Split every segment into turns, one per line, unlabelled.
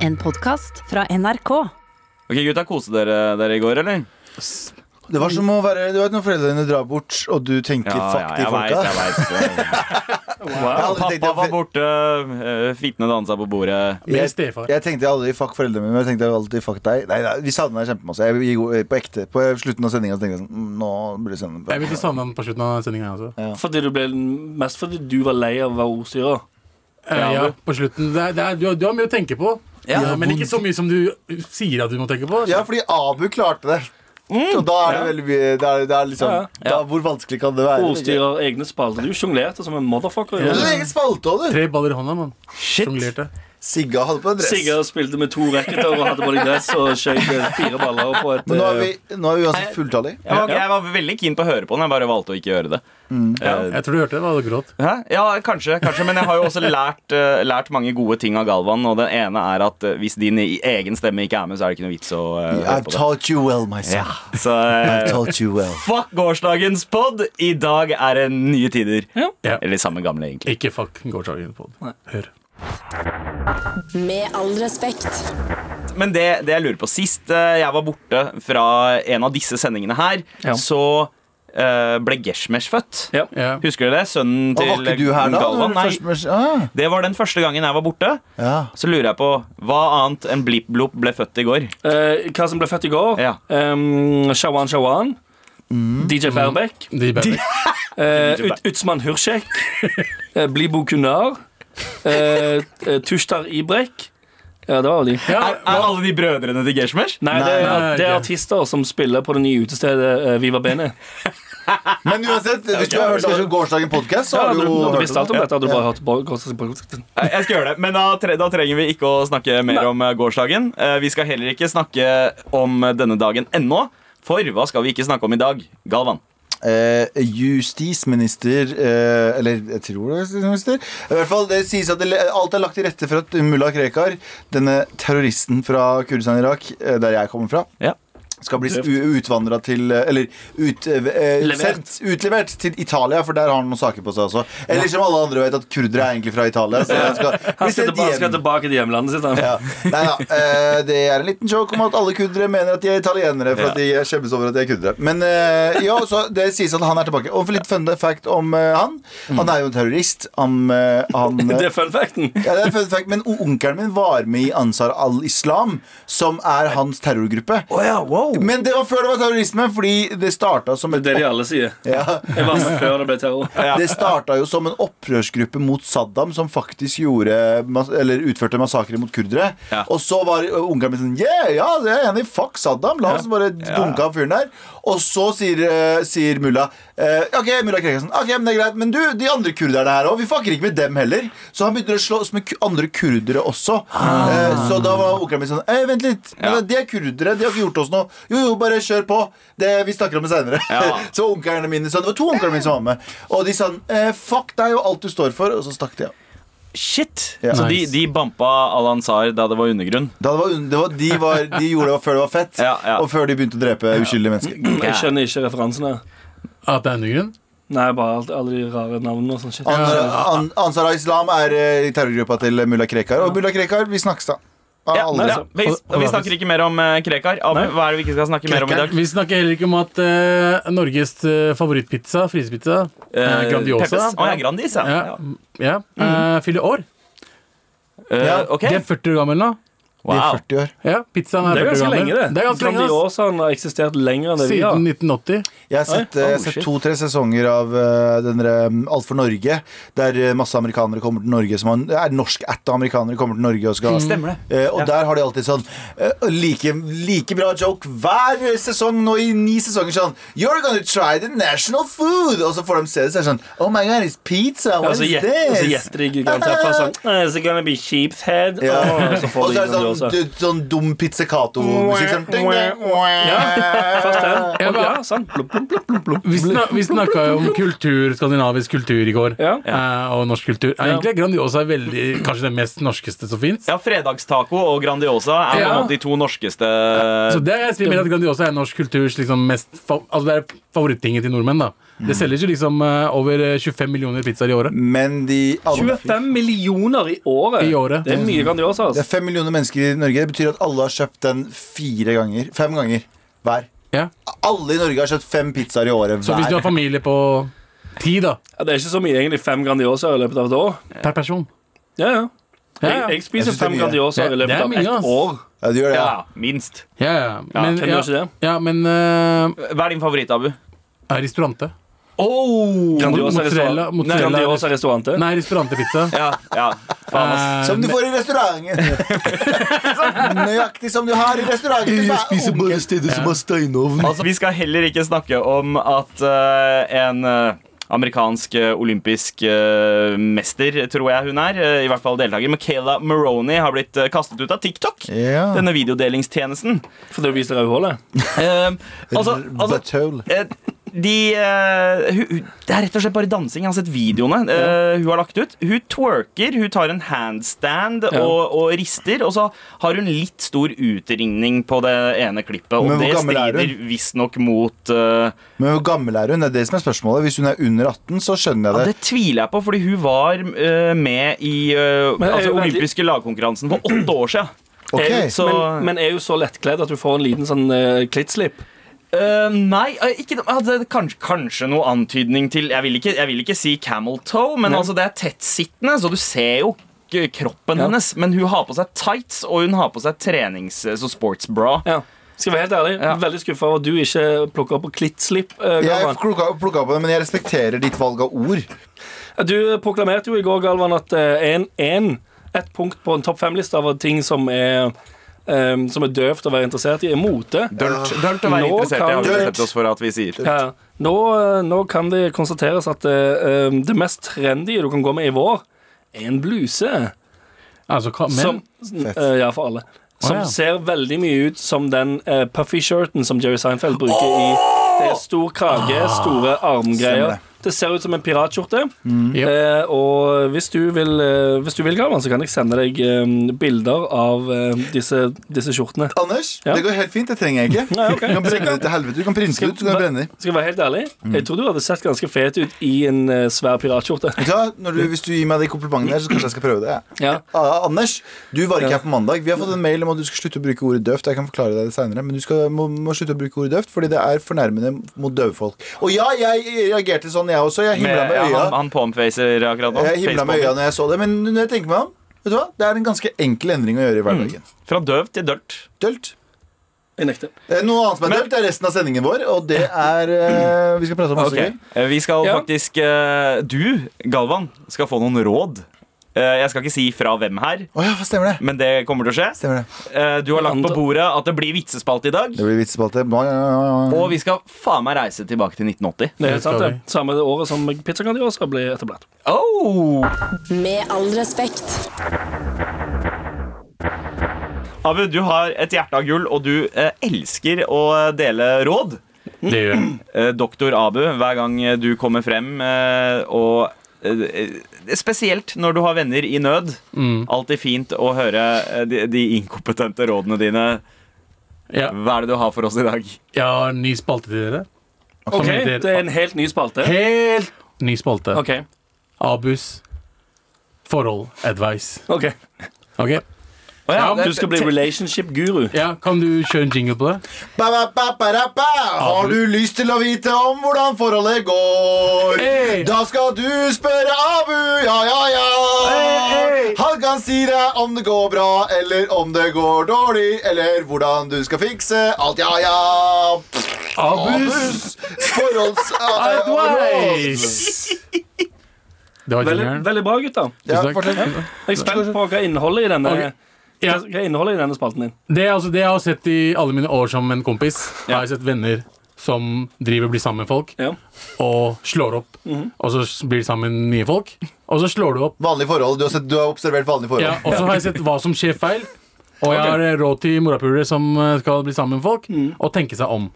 En podkast fra NRK.
Ok, gutta, koste dere dere i går, eller?
Det var som å være Du vet når foreldrene drar bort, og du tenker fuck de
jeg veit,
folka.
jeg veit. Wow,
Jeg hadde tenkt
pappa
at-
var borte, eh, fitne dansa på bordet.
Jeg-
Med stefar.
Jeg tenkte aldri fuck foreldrene mine, men jeg tenkte alltid fuck deg. Nei, nei, Vi savner deg kjempemasse. Jeg, jeg, eh, på ekte. På slutten av sendinga tenkte jeg sånn mm, Nå burde jeg sende
Jeg vil ikke savne ham på slutten av sendinga. Altså.
Fordi du ble, mest fordi du var lei av å være ordstyrer.
Eh, ja, på slutten. Det er, det er, du, har, du har mye å tenke på,
Ja.
Ja, men ikke så mye som du sier at du må tenke på.
Ja, fordi Abu klarte det. Og da er det veldig mye det er, det er liksom,
Ja,
Da, Hvor vanskelig kan det være?
Ordstyrer egne spalter. Du sjonglerte som en motherfucker.
Du hadde egen spalte òg, du.
Tre baller i hånda, mann.
Shit!
Sjonglerte.
Sigga hadde på en dress.
Sigurd spilte med to racketer og hadde på deg dress og skjøt fire baller på et
Men nå er vi,
eh,
nå er vi uansett fulltallige.
Jeg var, jeg var veldig keen på å høre på den, jeg bare valgte å ikke gjøre det. Eh,
Jeg tror du hørte det. Var det gråt?
Hæ? Ja, kanskje, kanskje, men jeg har jo også lært, eh, lært mange gode ting av Galvan. Og den ene er at eh, hvis din i- egen stemme ikke er med, så er det ikke noe vits å eh, høre
I've
på det.
taught you well, my
Ja,
son.
så
I've
eh,
taught you well.
fuck gårsdagens pod! I dag er det nye tider.
Ja.
Eller samme gamle, egentlig.
Ikke fuck gårsdagen på den. Hør.
Med all respekt.
Men det, det jeg lurer på Sist eh, jeg var borte fra en av disse sendingene her,
Ja.
så eh, ble Geshmesh født.
Ja.
Ja.
Husker dere det? Sønnen
Og
til
var ikke du her da?
Galvan?
Når
Nei,
du først- Ah,
det var den første gangen jeg var borte.
ja.
Så lurer jeg på hva annet enn Blipp Blopp ble født i går?
eh, Hva som ble født i går?
Ja.
Um, Shawan Shawan. DJ Berbek.
De bare-
eh,
DJ Ber-
Ut, Utsman Hursek. eh, Blibo Kunar. Eh, eh, Tushtar Ibrek. Ja, det var de.
Er, er alle de brødrene til Geshmesh?
Nei, det,
Nei,
er, det er
ok.
artister som spiller på det nye utestedet eh, Viva Bene.
Men
altså,
uansett, hvis du har hørt kanskje gårsdagen podkast, så
Ja,
har
du,
du jo
du
hørt
visste alt om
det.
dette, hadde du bare hørt på Gåsdagens podkast.
Eh, Jeg skal gjøre det, Men da, tre, da trenger vi ikke å snakke mer om eh, gårsdagen. Eh, Vi skal heller ikke snakke om eh, denne dagen ennå. For hva skal vi ikke snakke om i dag? Galvan.
Eh, justisminister eh, Eller jeg tror det er justisminister. I hvert fall, Det sies at det, alt er lagt til rette for at mulla Krekar, denne terroristen fra Kurdistan i Irak, eh, der jeg kommer fra,
Ja.
skal bli utvandra til eh, Eller ut, eh,
Levert.
sendt, utlevert til Italia, for der har han noen saker på seg også. Eller som alle andre vet, at kurdere er egentlig fra Italia. Så han skal
Han
bli
skal
sendt
tilbake,
hjem.
skal tilbake til hjemlandet sitt. Han.
Ja. Nei da. eh, det er en liten joke om at alle kurdere mener at de er italienere. For at de er skjemmes over at de er kurdere. Men eh, ja, så det sies at han er tilbake. Og for litt fun fact om eh, han. Han er jo en terrorist. Han, eh, han eh,
Mm. Det er fun facten.
ja, det er fun fact, men onkelen min var med i Ansar al-Islam, som er hans terrorgruppe. Men det var før det var terrorisme, fordi det starta som
Det er
et
det de alle sier.
ja.
Jeg var med før det ble terror.
Det starta jo som en opprørsgruppe mot Saddam, som faktisk gjorde, mas- eller utførte massakrer mot kurdere.
Ja.
Og så var ungene mine sånn yeah, Ja, det er jeg enig i. Fuck Saddam. La oss bare dunke av fyren der. Og så sier, eh, sier mulla eh, OK, mulla Krekkarsen. Ok, men det er greit. Men du, de andre kurderne her òg. Vi fucker ikke med dem heller. Så han begynte å slåss med ku- andre kurdere også. Eh, så da var onkelen min sånn Ei, vent litt. Men
Ah. Ja.
De er kurdere. De har ikke gjort oss noe. Jo, jo, bare kjør på. Det, vi snakker om det seinere.
Ja.
Så onklene mine sa, Det var to onkler mine som var med. Og de sa eh, 'fuck deg og alt du står for', og så stakk de av.
Shit!
Ja.
Så de,
Nice.
de bampa Al-Ansar da det var undergrunn?
Da det var, un- det var, de, var, de gjorde det før det var fett,
Ja, ja.
og før de begynte å drepe uskyldige mennesker.
Jeg skjønner ikke referansen her.
At det er undergrunn?
Nei, bare alt, alle de rare navnene og sånn shit.
An, an, Ansar al-Islam er eh, i terrorgruppa til mulla Krekar, og mulla Krekar, vi snakkes da. Av
Ja,
alle.
ja. Vi, vi snakker ikke mer om eh, Krekar. Abu,
Nei.
hva er det vi ikke skal snakke mer om i dag?
Vi snakker heller ikke om at eh, Norges eh, favorittpizza, frysepizza, eh,
Eh,
Grandiosa,
Peppes? Å, ja, Grandis, ja.
ja, ja, eh, fyller år.
Eh,
Ja,
ok.
De er 40 år gammel
De
nå.
er
Wow.
40 år.
Ja, pizzaen er,
Det er
40 år
ganske
gammel.
lenge, det.
Det er ganske lenge, ass.
Grandiosaen har eksistert lenger enn det vi har.
Siden 1980.
Jeg har sett,
Oi, oh,
eh, jeg har sett
shit.
to-tre sesonger av eh, den der, eh, Alt for Norge, der eh, masse amerikanere kommer til Norge som har- er norsk-ætta amerikanere kommer til Norge og skal
Mm.
Stemmer det.
Eh, og der har de alltid sånn eh, like, like bra joke hver sesong nå i ni sesonger sånn You're gonna try the national food! Og så får de se det, så er det sånn Oh my god, it's pizza!
Og
What
så
is
gjet- og så
this?
gjetter de garantert fra sånn "Eh, Is it gonna be sheep's head?
Ja.
Og så
Og
får
så
de
er det sånn,
Grandiosa.
du, sånn dum pizzicato-musikk. Sånn, ding, ding,
Først den.
Ja,
Og-
men-
Ja, sant. Blup, blup, blup, blup, blup.
Vi, snak, vi snakka jo om kultur, skandinavisk kultur i går.
Ja.
eh, og norsk kultur. Ja. Egentlig er Grandiosa veldig, kanskje det mest norskeste som fins.
Ja, Fredagstaco og Grandiosa er på
Ja.
en måte de to norskeste
Så det er, jeg sier mer at Grandiosa er norsk kulturs liksom mest fa- altså det er favorittingen til nordmenn. da Det selges jo liksom eh, over eh, 25 millioner pizzaer i året.
Men de alle,
25 millioner i året.
I året.
Det er mye Grandiosa.
det er
Altså.
fem millioner mennesker i Norge. Det betyr at alle har kjøpt den fire ganger. Fem ganger hver.
Ja.
Alle i Norge har kjøpt fem pizzaer i året
Så hvis du har
hver.
familie på ti da
Ja, det er ikke så mye egentlig fem Grandiosa i løpet av et år.
per person
Ja, ja.
Ja,
Jeg,
ja.
jeg spiser
Jeg synes det er
fem
mye.
Grandiosa i
Det- det
løpet
er
av
mye,
ett
ass.
år.
Ja, du gjør det, ja.
Ja, minst.
Ja, ja. Men,
hvem gjør ikke det?
Ja, men eh,
Hva er din favoritt, Abu?
er Restaurante.
Oh!
Grandiosa
Mozzarella-
restaurant-
mozzarella-
Grandiosa restaurante.
Nei, restaurantepizza.
Ja, ja. Faen, ass.
Eh,
Som du får i restauranten. Nøyaktig som du har i restauranten. Bare onkel.
steder som har steinovn.
Altså, vi skal heller ikke snakke om at eh, en eh, amerikansk eh, olympisk eh, mester, tror jeg hun er, eh, i hvert fall deltaker, Michaela Maroney, har blitt eh, kastet ut av TikTok.
Ja.
Denne videodelingstjenesten.
For det viser rødhålet.
Eh, altså, altså
Butthole.
eh, de, eh, hun- hun- det er rett og slett bare dansing. Jeg har sett videoene eh, hun har lagt ut. Hun twerker, hun tar en handstand
Ja.
og, og rister. Og så har hun litt stor utringning på det ene klippet. Og
Men hvor
det
gammel er
strider visstnok mot eh,
Men hvor gammel er hun? Det er det som er spørsmålet. Hvis hun er under 18, så skjønner
Ja,
jeg det.
det tviler jeg på, fordi hun var eh, med i eh,
Men er
altså,
jo veldig-
olympiske lagkonkurransen for åtte år siden.
Ok.
Er-
Så-
Eh, Men, men er jo så lettkledd at du får en liten sånn eh, klittslipp.
Eh, nei, eh, ikke, jeg hadde kanskje, kanskje noe antydning til jeg vil, ikke, jeg vil ikke si camel toe, men
Nei.
altså det er tettsittende, så du ser jo k- kroppen
Ja.
hennes. Men hun har på seg tights, og hun har på seg trenings- eh, så sportsbra.
Ja. Skal jeg være helt ærlig,
Ja.
Veldig skuffa over at du ikke plukker opp på klittslipp. eh,
Jeg
Galvan.
plukka plukka på det, men jeg respekterer ditt valg av ord.
Du proklamerte jo i går, Galvan, at eh, en, en, et punkt på en topp fem-liste av ting som er eh, Som er døvt å være interessert i, er mote.
Dølt, dølt å være
Nå
interessert i.
kan-
har vi
Dølt.
bestemt oss for at vi sier.
Ja. Nå, eh, nå kan det konstateres at eh, eh, det mest trendy du kan gå med i vår, er en bluse.
Altså, ka- men
som, eh, ja, for alle. Som
ja.
ser veldig mye ut som den eh, puffy-shirten som Jerry Seinfeld bruker i Det er stor krage, store armgreier.
Stemmer det.
Det. ser ut som en piratskjorte.
Yep.
Eh, og hvis du vil, eh, hvis du vil Galvan, så kan jeg sende deg eh, bilder av eh, disse, disse skjortene.
Anders,
Ja.
det går helt fint. Det trenger jeg ikke.
Nei, ok.
Du kan brenne det til helvete. Du kan prinse det ut. Du kan brenne det.
Skal jeg være helt ærlig? Jeg tror du hadde sett ganske fet ut i en eh, svær piratskjorte.
Vet du hva? Når du, hvis du gir meg de komplimentene der, så kanskje jeg skal prøve det. jeg.
Ja.
Ah, Anders, du var ikke
Ja.
her på mandag. Vi har fått en mail om at du skal slutte å bruke ordet døvt. Jeg kan forklare deg det senere, men du skal, må, må slutte å bruke ordet døvt fordi det er fornærmende mot døve folk. Og ja, jeg reagerte sånn, jeg også. Jeg
Med,
himla med
ja,
øya.
han, han påmfacer akkurat nå.
Jeg himla
Facepalmer.
med øya når jeg så det, men når jeg tenker meg om Vet du hva? Det er en ganske enkel endring å
Mm.
gjøre i hverdagen.
Fra døv til dølt.
Dølt.
Jeg nekter.
Det er Noe annet som er
Men-
dølt, er resten av sendingen vår, og det er eh, Vi skal prate om masse
Ok, eh, Vi skal
Ja.
faktisk eh, Du, Galvan, skal få noen råd. Eh, Jeg skal ikke si fra hvem her,
gøy. Å ja, stemmer det.
men det kommer til å skje.
Stemmer det.
Eh, Du har lagt på
Anta-
bordet at det blir vitsespalte i dag.
Det blir vitsespalte. Bla, bla, bla, bla.
Og vi skal faen meg reise tilbake til 1980.
Det er
Det
helt sant,
skal
det. Samme det året som Pizza Grandiosa ble etablert.
Oh!
Med all respekt.
Abu, du har et hjerte av gull, og du eh, elsker å dele råd.
det gjør jeg.
Eh, Doktor Abu, hver gang du kommer frem eh, og eh, eh, Spesielt når du har venner i nød. Alltid fint å høre eh, de, de inkompetente rådene dine.
Ja,
Hva er det du har for oss i dag?
jeg har en ny spalte til dere.
Ok,
heter-
Det er en helt ny spalte.
Helt ny spalte.
Ok,
Abus forhold advice.
ok
Ok?
ja,
Du skal bli relationship-guru.
Ja, Kan du kjøre en jingle på det?
Ba, ba, ba, ba, da, ba. Har du lyst til å vite om hvordan forholdet går?
Hey!
Da skal du spørre Abu, ja, ja, ja. Han kan si deg om det går bra, eller om det går dårlig, eller hvordan du skal fikse alt, ja, ja. Abus forholds...
Advice! Det var
Veldig,
jingeren.
veldig bra, gutter.
Ja,
Tusen takk.
fortsett.
Jeg er spent på hva innholdet i denne
Ok,
hva
ja.
hva er innholdet i denne spalten din.
Det, er altså, det jeg har sett i alle mine år som en kompis, har jeg sett venner som driver og blir sammen med folk,
Ja. Mhm.
og slår opp. Og så s- blir de sammen med nye folk, og så slår du opp.
Vanlige forhold. Du har, sett, du har observert vanlige forhold.
Ja, og så har jeg sett hva som skjer feil.
Mm.
Og jeg har eh, råd til morapulere som eh, skal bli sammen med folk, og tenke seg om.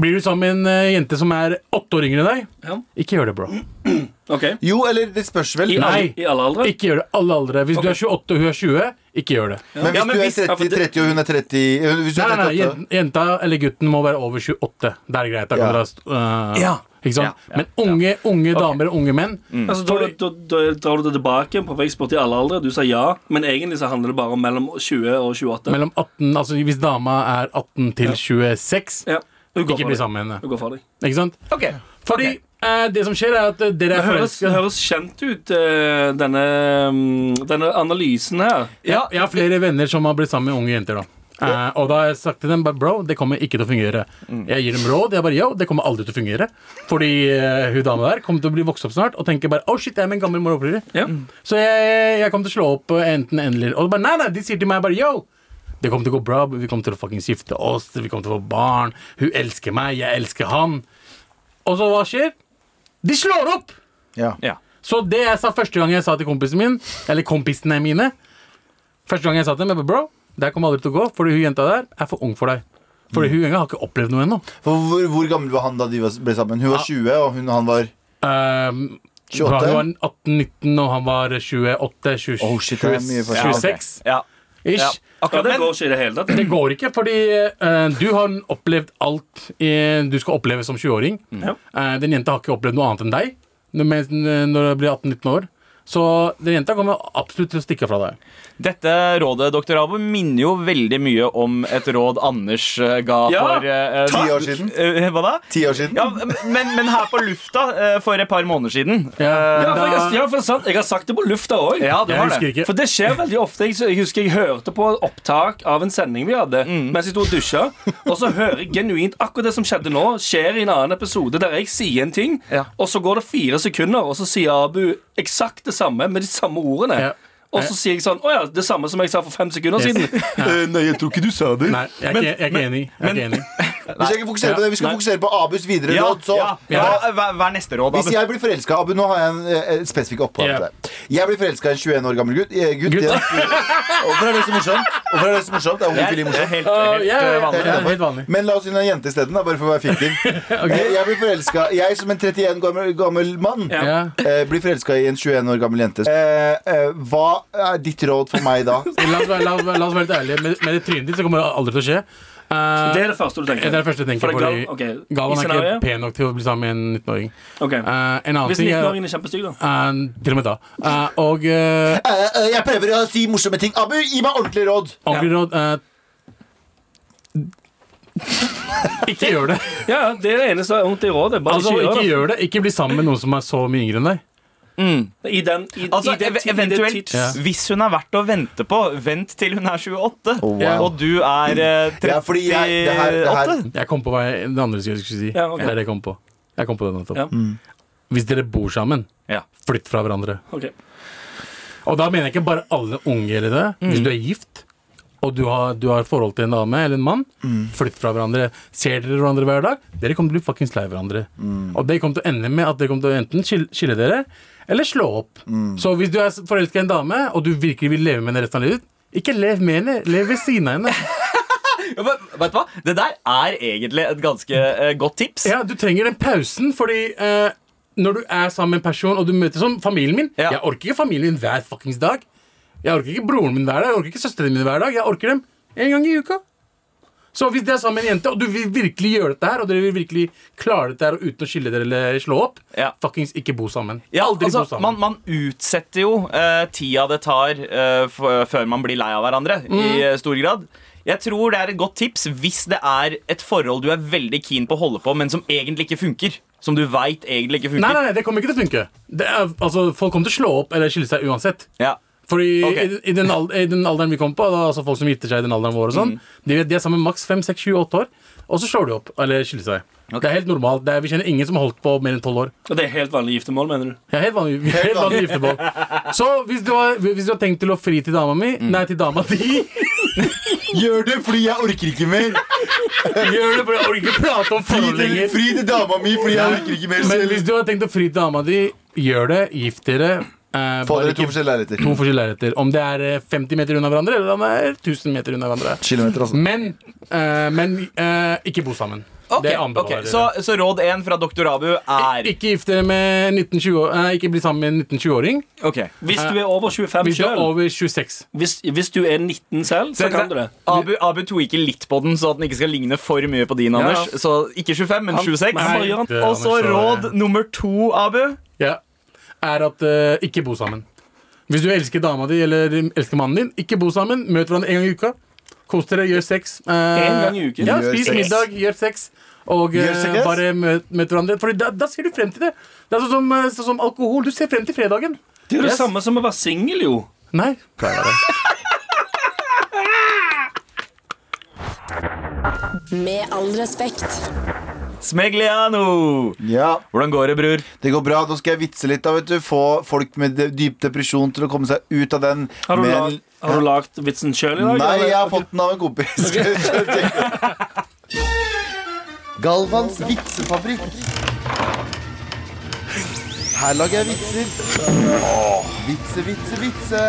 Blir du sammen med en eh, jente som er åtte år yngre enn deg,
Ja.
ikke gjør det, bro.
Mm. Ok.
Jo, eller det spørs vel.
I,
Nei.
alle, I alle aldre?
Ikke gjør det. Alle aldre. Hvis
Ok.
du er 28 og hun er 20, ikke gjør det.
Men hvis
Ja, men
du er
hvis-
30,
ja, for det-
30 og hun er 30 eh, hvis du
Nei,
er
nei,
38,
nei, jen- jenta eller gutten må være over 28. Det er greit. Da kan
Ja.
dere ha st- øh,
Ja.
Ikke sant?
Ja, ja,
Men unge, unge damer og unge menn
Altså, da, da, da drar du det tilbake på vekstsport i alle aldre. Du sa ja, men egentlig så handler det bare om mellom 20 og 28.
mellom 18 Altså hvis dama er 18 til 26,
ja. Du går
ikke
for
bli
deg.
sammen med henne.
Du går for deg.
Ikke sant?
Ok,
Fordi eh, det som skjer, er at eh, dere
Det
er
høres,
forelska.
det høres kjent ut, eh, denne, mm, denne analysen her.
Ja, jeg har flere venner som har blitt sammen med unge jenter. da Eh, og da har jeg sagt til dem bare, Bro, det kommer ikke til å fungere. Jeg gir dem råd. Jeg bare, yo, det kommer aldri til å fungere Fordi eh, hun dama der kommer til å bli vokst opp snart og tenker bare oh shit, jeg er med en gammel moroppryrer.
Ja.
Så jeg, jeg kom til å slå opp eh, enten eller Og bare, nei, nei, de sier til meg bare yo Det kommer til å gå bra, vi kommer til å fucking skifte oss Vi kommer til å få barn Hun elsker meg, jeg elsker han Og så hva skjer? De slår opp
ja.
ja.
Så det jeg sa første gang jeg sa til kompisen min Eller kompisene mine Første gang jeg sa til dem, jeg bare bro Det her kommer aldri til å gå, fordi hun jenta der er for ung for deg Fordi hun engang har ikke opplevd noe ennå
For hvor, hvor gammel var han da de var- ble sammen? Hun var 20, og hun, han var
Ehm,
28?
Hun var 18-19 og han var 28-26
Oh shit, det er mye forskjell.
Ja, ok.
26
Ja.
Ish
Ja.
Ja,
Akkurat,
det
men
går ikke i det hele tatt.
Det går ikke, fordi eh, du har opplevd alt eh, du skal oppleve som 20-åring.
Mm.
Ja.
Eh, den jenta har ikke opplevd noe annet enn deg når- mens- når du blir 18-19 år. Så den jenta kommer absolutt til å stikke fra deg.
dette rådet Dr. Abo, minner jo veldig mye om et råd Anders eh, ga
Ja,
for eh,
ti
eh,
år siden.
eh, hva da?
Ti år siden.
Ja, men, men her på lufta eh, for et par måneder siden.
Eh,
Ja,
Ja, for jeg,
da,
har- ja, for det er sant. jeg har sagt det på lufta òg.
Ja, du
jeg
har
husker
det.
ikke.
For det skjer veldig ofte. Jeg, jeg husker jeg hørte på opptak av en sending vi hadde mens jeg sto og dusja, og så hører jeg genuint akkurat det som skjedde nå, skjer i en annen episode der jeg sier en ting,
Ja.
og så går det fire sekunder, og så sier Abu eksakt det samme med de samme ordene.
Ja.
Og så sier jeg sånn Å ja, det samme som jeg sa for fem sekunder
Yes.
siden.
Eh, nei, jeg tror ikke du sa det.
Nei, jeg er ikke, jeg er ikke enig. Jeg er ikke enig.
Vi skal ikke fokusere på det, vi skal fokusere på Abus videre
Ja,
råd. Så
ja, Hva, hva hva er neste råd,
Hvis
Abu?
jeg blir forelska Abu, nå har jeg en, eh, et spesifikk oppgave
Ja.
til deg. Jeg blir forelska i en 21 år gammel gutt. eh, gutt,
Gutt.
igjen. Hvorfor er det så morsomt? Hvorfor er det så morsomt? Det er
Det er
homofili
det er
morsomt.
helt, helt
ja,
eh,
ja,
vanlig.
ja.
Derfor.
helt vanlig.
Men la oss inn en jente isteden, da, bare for å være fiktiv. Eh, Jeg blir forelska Jeg som en 31 gammel, gammel mann
Ja.
Ja.
eh, blir forelska i en 21 år gammel jente. Eh, eh, hva er ditt råd for meg da?
La, oss, være- la, oss, være- la oss være litt ærlige. Med, med det trynet ditt så kommer det aldri til å skje. Eh,
Det er det første du tenker?
det er det første jeg tenker.
For det er
Fordi
gal- ok,
Galvan
i
er ikke
scenarioet?
pen nok til å bli sammen med en 19-åring.
Ok.
Eh, en annen
Hvis
ting er
19-åringen er kjempestygg, da.
Eh, Til og med da. Eh, og eh,
Eh, eh, jeg prøver å si morsomme ting. Abu, gi meg ordentlig råd!
Onkel Rod eh, Ikke gjør det.
Ja, ja, det er det eneste ordentlige rådet. Bare
Altså,
ikke
ikke
gjør det.
gjør det. Ikke bli sammen med noen som er så mye yngre enn deg.
I den, i,
Altså,
i det,
ev-
ti- i det
eventuelt,
tids-
tids-
hvis hun er verdt å vente på, vent til hun er 28,
Oh, wow.
og du er eh,
Ja, fordi jeg- det her- det her-
38.
Jeg kom på hva jeg, det andre jeg skulle si.
Ja, ok.
Det er det jeg kom på. Jeg kom på det nettopp.
Ja.
Hvis dere bor sammen,
Ja.
flytt fra hverandre.
Ok.
Og da mener jeg ikke bare alle unge eller det. Hvis du er gift, og du har, du har forhold til en dame eller en mann, flytt fra hverandre. Ser dere hverandre hver dag? Dere kommer til å bli fuckings lei hverandre. Og det kommer til å ende med at dere kommer til å enten skille, skille dere, eller slå opp. Så hvis du er forelska i en dame, og du virkelig vil leve med henne resten av livet, ikke lev med henne, lev ved siden av henne.
Ja, men, vet du hva? Det der er egentlig et ganske eh, godt tips.
Ja, Du trenger den pausen, fordi eh, når du er sammen med en person, og du møter som familien min
Ja.
Jeg orker ikke familien min hver fuckings dag. Jeg orker ikke broren min hver dag, jeg orker ikke søsteren min hver dag. Jeg orker dem en gang i uka. Så hvis det er sammen med en jente, og du vil virkelig gjøre dette her, og dere vil virkelig klare dette her og uten å skille dere eller slå opp,
Ja.
fuckings ikke bo sammen.
Ja,
Aldri
altså,
bo sammen.
man, man utsetter jo eh, tida det tar eh, f før man blir lei av hverandre, i
Mm.
eh, stor grad. Jeg tror det er et godt tips hvis det er et forhold du er veldig keen på å holde på, men som egentlig ikke funker. Som du veit egentlig ikke
Nei,
funker.
nei, nei, det kommer ikke til å funke. Det er, altså, folk kommer til å slå opp eller skille seg uansett.
Ja.
Fordi
Ok.
i, i, den ald- I den alderen vi kom på, da, altså folk som gifter seg i den alderen vår, og
Mm.
sånn de, de er sammen maks 5, 6, 7, 8 år, og så slår de opp eller skiller seg. Det er helt normalt. Det er, vi kjenner ingen som har holdt på mer enn 12 år.
Og det er helt vanlig giftermål, mener du?
Jeg er helt vanlig, helt vanlig gifteball. Så hvis du, har, hvis du har tenkt til å fri til dama mi
Mm.
Nei, til dama di
Gjør det fordi jeg orker ikke mer!
Gjør det, for jeg orker ikke prate om
Fri
forhold
til,
lenger.
fri til dama mi fordi jeg orker ikke mer
Men
selv.
hvis du har tenkt å fri til dama di, gjør det. Gift dere. Eh,
Få
bare
dere to
ikke-
forskjellige
to
leiligheter.
forskjellige leiligheter. Om det er eh, 50 meter unna hverandre, eller om det er 1000 meter unna hverandre.
Kilometer, altså.
Men, eh, men eh, ikke bo sammen.
Ok,
Det anbefaler
ok.
jeg dere.
Så, så råd én fra doktor Abu er
Ikke gift dere med 1920 år- nei, Ikke bli sammen med en 1920-åring.
Ok.
Hvis du er over 25
Eh, Hvis du er
selv
over 26.
hvis, hvis du er 19 selv, så kan du det.
Abu, Abu tweaker litt på den, så at den ikke skal ligne for mye på din.
Ja, ja.
Anders Så ikke 25, men
Han-
26.
men han bare gjør
det,
Og så
Anders, så-
råd nummer to, Abu.
Ja. Er at eh, ikke bo sammen. Hvis du elsker dama di eller elsker mannen din, ikke bo sammen. Møt hverandre en gang i uka. Kos dere, gjør sex. Eh,
En gang i uken?
Ja,
Gjør
Spis
sex.
middag, gjør sex. Og eh,
Gjør sex?
bare møt, møt hverandre. For da, da ser du frem til det. Det er sånn som, eh, sånn som alkohol. Du ser frem til fredagen.
Det er jo det
Yes.
samme som å være singel, jo.
Nei.
Med all respekt.
Smegliano.
Ja,
Hvordan går det, bror?
Det går bra. Nå skal jeg vitse litt. da, vet du Få folk med de- dyp depresjon til å komme seg ut av den.
Har du,
med-
lag, har du lagt vitsen sjøl i dag?
Nei,
eller?
jeg har fått den av en kompis. Galvans vitsefabrikk. Her lager jeg vitser. Åh, Vitse, vitse, vitse.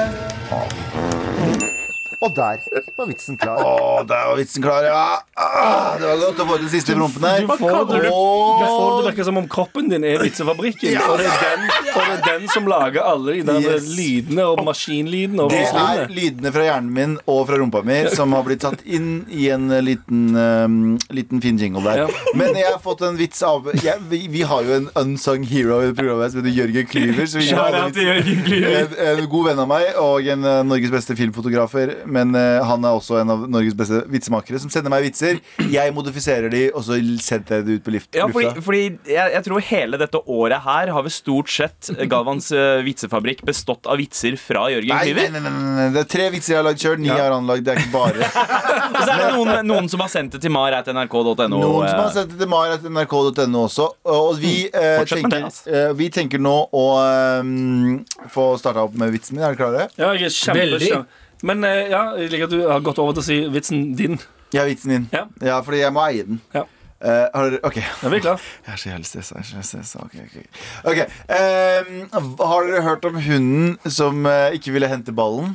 Og der var vitsen klar.
Å, der var vitsen klar, ja. Ah, det var godt å få den siste i rumpen her.
Du får, du, du får det
Og
virker som om kroppen din er vitsefabrikken. Og, det er den, og det er den som lager alle de der
Yes.
lydene og maskinlydene. Og
det er
visslene.
lydene fra hjernen min og fra rumpa mi som har blitt tatt inn i en eh, liten, eh, liten fin jingle
Ja.
der. Men jeg har fått en vits av jeg, vi, vi har jo en unsung hero i programmet som heter Jørgen Klyver. Så vi kan ha den
Shout-out til Jørgen Klyver.
en, en god venn av meg og en eh, Norges beste filmfotografer. Men eh, han er også en av Norges beste vitsemakere som sender meg vitser. Jeg modifiserer de, og så sender jeg det ut på lift,
Ja, fordi,
lufta.
fordi jeg, jeg tror hele dette året her har vi stort sett Galvans eh, vitsefabrikk bestått av vitser fra Jørgen
Nei, nei,
Klyver.
nei, nei, nei, nei, det er tre vitser jeg har lagd sjøl. Ni har han lagd. Det er ikke bare
Og så Altså, er det noen, noen som har sendt det til mar.nrk.no.
noen som har
eh,
sendt det til mar.nrk.no også. Og vi, eh,
Fortsett med det,
tenker,
ass.
eh, vi tenker nå å eh, få starta opp med vitsen min. Er dere klare?
Ja, jeg er kjempe,
Veldig.
kjempe. Men eh, ja, jeg liker at du har gått over til å si vitsen din.
Ja, vitsen min.
Ja.
Ja, fordi jeg må eie den.
Ja.
Eh, har dere, ok
Er vi klar?
Jeg er så jævlig stressa. Jeg er så jævlig stressa. Ok, ok. Ok, ehm, har dere hørt om hunden som eh, ikke ville hente ballen?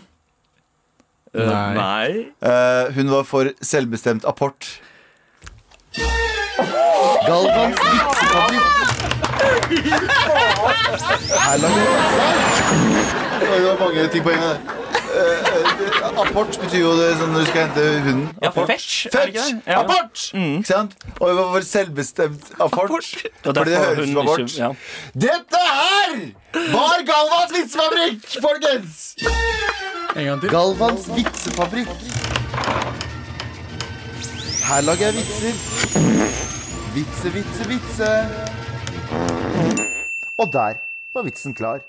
Nei.
Nei.
Eh, hun var for selvbestemt apport.
Galvans vitsefabrikk.
Her lager jeg vitser. Oi, Det var mange ting på en gang. Eh, eh, apport betyr jo det sånn når du skal hente hunden.
Ja,
Apport.
fetch, er det ikke
Fetch!
det? Ja. Mm.
Apport! Ikke sant? Og hun var for selvbestemt apport.
Og
Fordi det
derfor
høres ut
hun
som
ikke-
apport.
ja.
Dette her var Galvans vitsefabrikk, folkens!
En gang til.
Galvans vitsefabrikk.
Her lager jeg vitser. Vitse, vitse, vitse.
Og der var vitsen klar.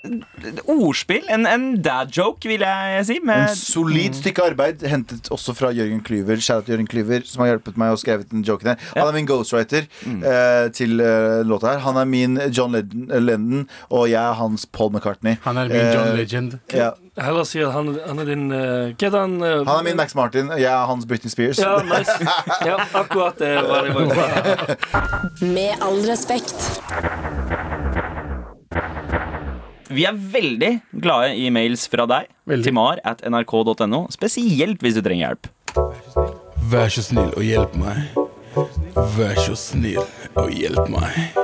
Ordspill. En, en dad-joke, vil jeg si. Med
En solid stykke arbeid hentet også fra Jørgen Klyver, Shout out Jørgen Klyver, som har hjulpet meg og skrevet den joken her. Han er min ghostwriter
Mm.
eh, til eh, låta her. Han er min John Lennon, Lennon, og jeg er hans Paul McCartney.
Han er min John
Eh,
Legend.
Ja.
Heller si at han, han er din eh, Hva heter han? eh,
Han er min Max Martin, og jeg er hans Britney Spears.
Ja, nice. ja, akkurat det var det. jeg var-
Med all respekt.
Vi er veldig glade i mails fra deg
Veldig.
til mar at nrk.no, spesielt hvis du trenger hjelp.
Vær så snill og hjelp meg. Vær så snill og hjelp meg.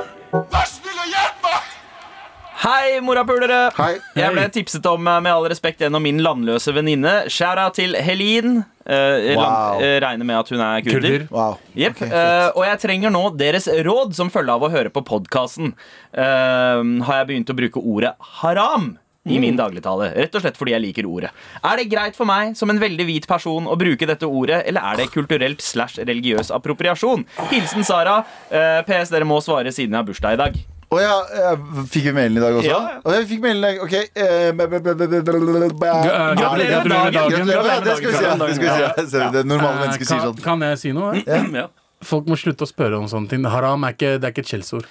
Hei, morapulere!
Hei.
Jeg ble tipset om eh, med all respekt gjennom min landløse venninne. Shara til Helin. Eh,
Wow.
land, eh, regner med at hun er kurder.
Kurder.
Wow.
Jepp.
Ok, fett.
eh, og jeg trenger nå deres råd som følge av å høre på podkasten. har jeg begynt å bruke ordet haram i
Mm.
min dagligtale? Rett og slett fordi jeg liker ordet. Er det greit for meg som en veldig hvit person å bruke dette ordet, eller er det kulturelt slash religiøs appropriasjon? Hilsen Sara. Eh, PS, dere må svare siden jeg har bursdag i dag.
Å ja, eh, fikk vi mailen i dag også?
Ja.
Å, jeg fikk mailen i dag, ok eh, b- b- b- b- b-
Gratulerer
med dagen.
Gratulerer. Ja, det skulle vi si. ja, Det, skulle vi si, ja. Ser du, det normale
Eh,
mennesker sier
kan,
sånn.
kan jeg si noe? eh?
Ja.
Folk må slutte å spørre om sånne ting. Haram er ikke, det er ikke et skjellsord.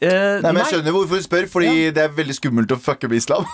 Eh,
Nei, men Jeg skjønner hvorfor du spør, fordi det er veldig skummelt å fucke med islam.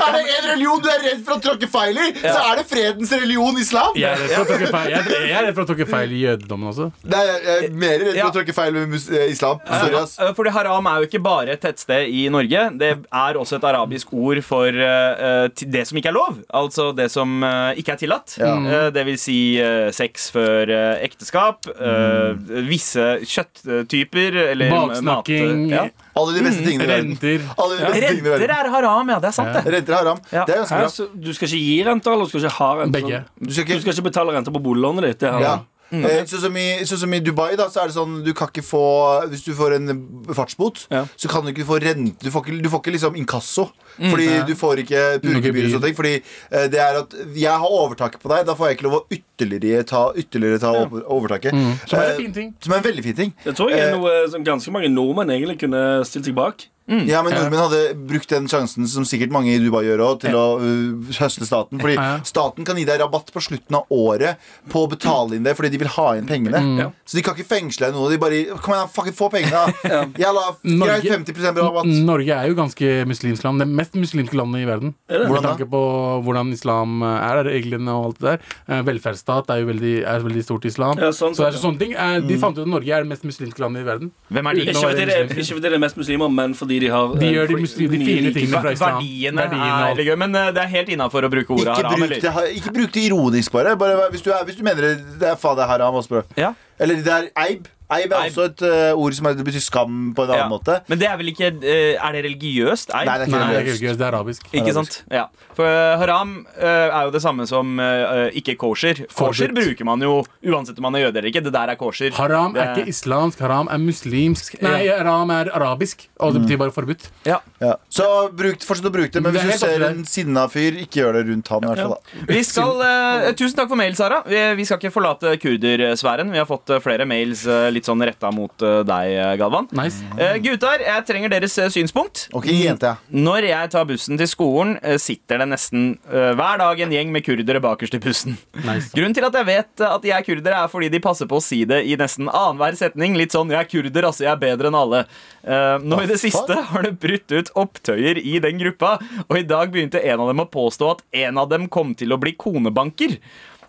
Er det en religion du er redd for å tråkke feil i, så er det fredens religion islam.
Jeg er redd for å tråkke feil, jeg er- jeg er redd for å tråkke feil i jødedommen også.
Nei, jeg jeg er mer redd for
Ja.
å tråkke feil med mus eh, islam. Sorry, ass.
Eh, Fordi haram er jo ikke bare et tettsted i Norge. Det er også et arabisk ord for eh, eh, ti- det som ikke er lov. Altså det som eh, ikke er tillatt. Eh, det vil si eh, sex før eh, ekteskap, eh,
Mm.
visse kjøtttyper eh, eller
Baksnakking,
mat- ja.
Alle de beste tingene i verden.
renter
Alle de beste tingene i
Renter
verden.
er haram, ja. Det er sant, det.
Renter er haram.
Ja.
Det er ganske
Hæ?
bra.
Så Du skal ikke gi renter, eller du skal ikke ha renter?
Begge.
Du skal
Du
ikke
skal ikke betale renter på boliglånet ditt. Det har
ja.
han.
Eh, Sånn som, i- sånn som i Dubai, da, så er det sånn du kan ikke få Hvis du får en fartsbot,
Ja.
så kan du ikke få rente Du får ikke, du får ikke liksom inkasso.
Mm.
Fordi du får ikke purgebyr og sånne ting. Fordi eh, det er at jeg har overtaket på deg, da får jeg ikke lov å ytterligere ta, ytterligere ta over- overtaket.
Som er en
Eh,
fin ting.
Som er en veldig fin ting.
Mm. Det tror jeg er
Eh,
noe som ganske mange nordmenn egentlig kunne stilt seg bak.
Mm.
Ja, men nordmenn hadde brukt den sjansen som sikkert mange i Dubai gjør òg, til å uh, høste staten. Fordi
Ja.
staten kan gi deg rabatt på slutten av året på å betale inn det, fordi de vil ha inn pengene.
Mm.
Ja.
Så de kan ikke fengsle deg noe. De bare Kom igjen, da, fucking få pengene, da. Jævla,
Norge-
greit
Mm.
50 rabatt.
N- Norge er jo ganske muslimsk land. Det mest muslimske landet i verden. Med
Hvordan da?
tanke på hvordan islam eh, er, reglene og alt det der. Eh, Velferdsstat er jo veldig, er veldig stort islam.
Ja, sånn
så det
sett,
er sånne ting. Eh, De fant ut at Norge er det mest muslimske landet i verden.
Hvem er de?
Uten
Ikke
å
fordi,
være
det, er-
muslimer.
ikke fordi det er mest muslimer, men fordi de har eh,
De gjør de, muslim, de fine tingene fra islam.
Verdiene,
og
er
alt.
veldig gøy, men eh, det er helt innafor å bruke ordet
Ikke
haram.
bruk,
eller?
det, ikke bruk det ironisk, bare. bare vær- hvis, du er, hvis du mener det, det er faen det er haram også, bro.
Ja.
Eller det er eib. Eib er
Eib.
også et uh, ord som er, det betyr skam på en annen
Ja.
måte.
Men det er vel ikke eh, Er det religiøst?
Nei, det er ikke
Nei, det er
religiøst.
religiøst, det er arabisk.
Ikke sant? Ja. For eh, haram eh, er jo det samme som eh, ikke kosher. Kosher
Forbudt.
bruker man jo uansett om man er jøde eller ikke. Det der er kosher.
Haram er
Det-
ikke islamsk, haram er muslimsk. Nei, haram er arabisk, og det betyr bare forbudt.
Ja.
Ja. Så bruk, fortsett å bruke det, men
Det er
hvis du
helt opp til
ser
deg.
en sinna fyr, ikke gjør det rundt han. I hvert fall, da.
Vi skal, eh, tusen takk for mail, Sara. Vi, vi skal ikke forlate kurdersfæren. Vi har fått eh, flere mails eh, litt sånn retta mot eh, deg, eh, Galvan.
Nice.
Mm.
Eh, gutter, jeg trenger deres eh, synspunkt.
Ok, jente, ja.
Når jeg tar bussen til skolen, eh, sitter det nesten eh, hver dag en gjeng med kurdere bakerst i bussen.
Nice.
Grunnen til at jeg vet at de er kurdere, er fordi de passer på å si det i nesten annenhver setning. Litt sånn 'jeg er kurder, altså. Jeg er bedre enn alle'. Eh, nå i det siste har det brutt ut opptøyer i den gruppa, og i dag begynte en av dem å påstå at en av dem kom til å bli konebanker.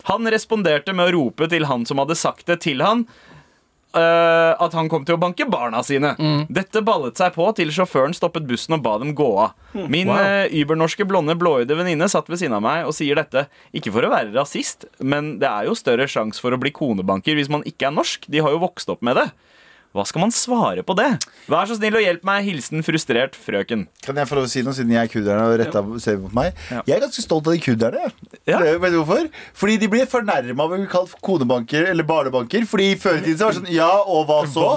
Han responderte med å rope til han som hadde sagt det til han. eh, at han kom til å banke barna sine. Dette ballet seg på til sjåføren stoppet bussen og ba dem gå av. Min
Wow.
eh, übernorske blonde blåøyde venninne satt ved siden av meg og sier dette. Ikke for å være rasist, men det er jo større sjanse for å bli konebanker hvis man ikke er norsk. De har jo vokst opp med det. Hva skal man svare på det? Vær så snill og hjelp meg. Hilsen frustrert frøken.
Kan jeg få lov å si noe, siden jeg er kurderne og retta ser mot meg? Jeg er ganske stolt av de kurderne.
Ja.
Ja. Vet du hvorfor? Fordi de blir fornærma av å bli kalt konebanker eller barnebanker. Fordi før i tiden så var det sånn ja, og hva så?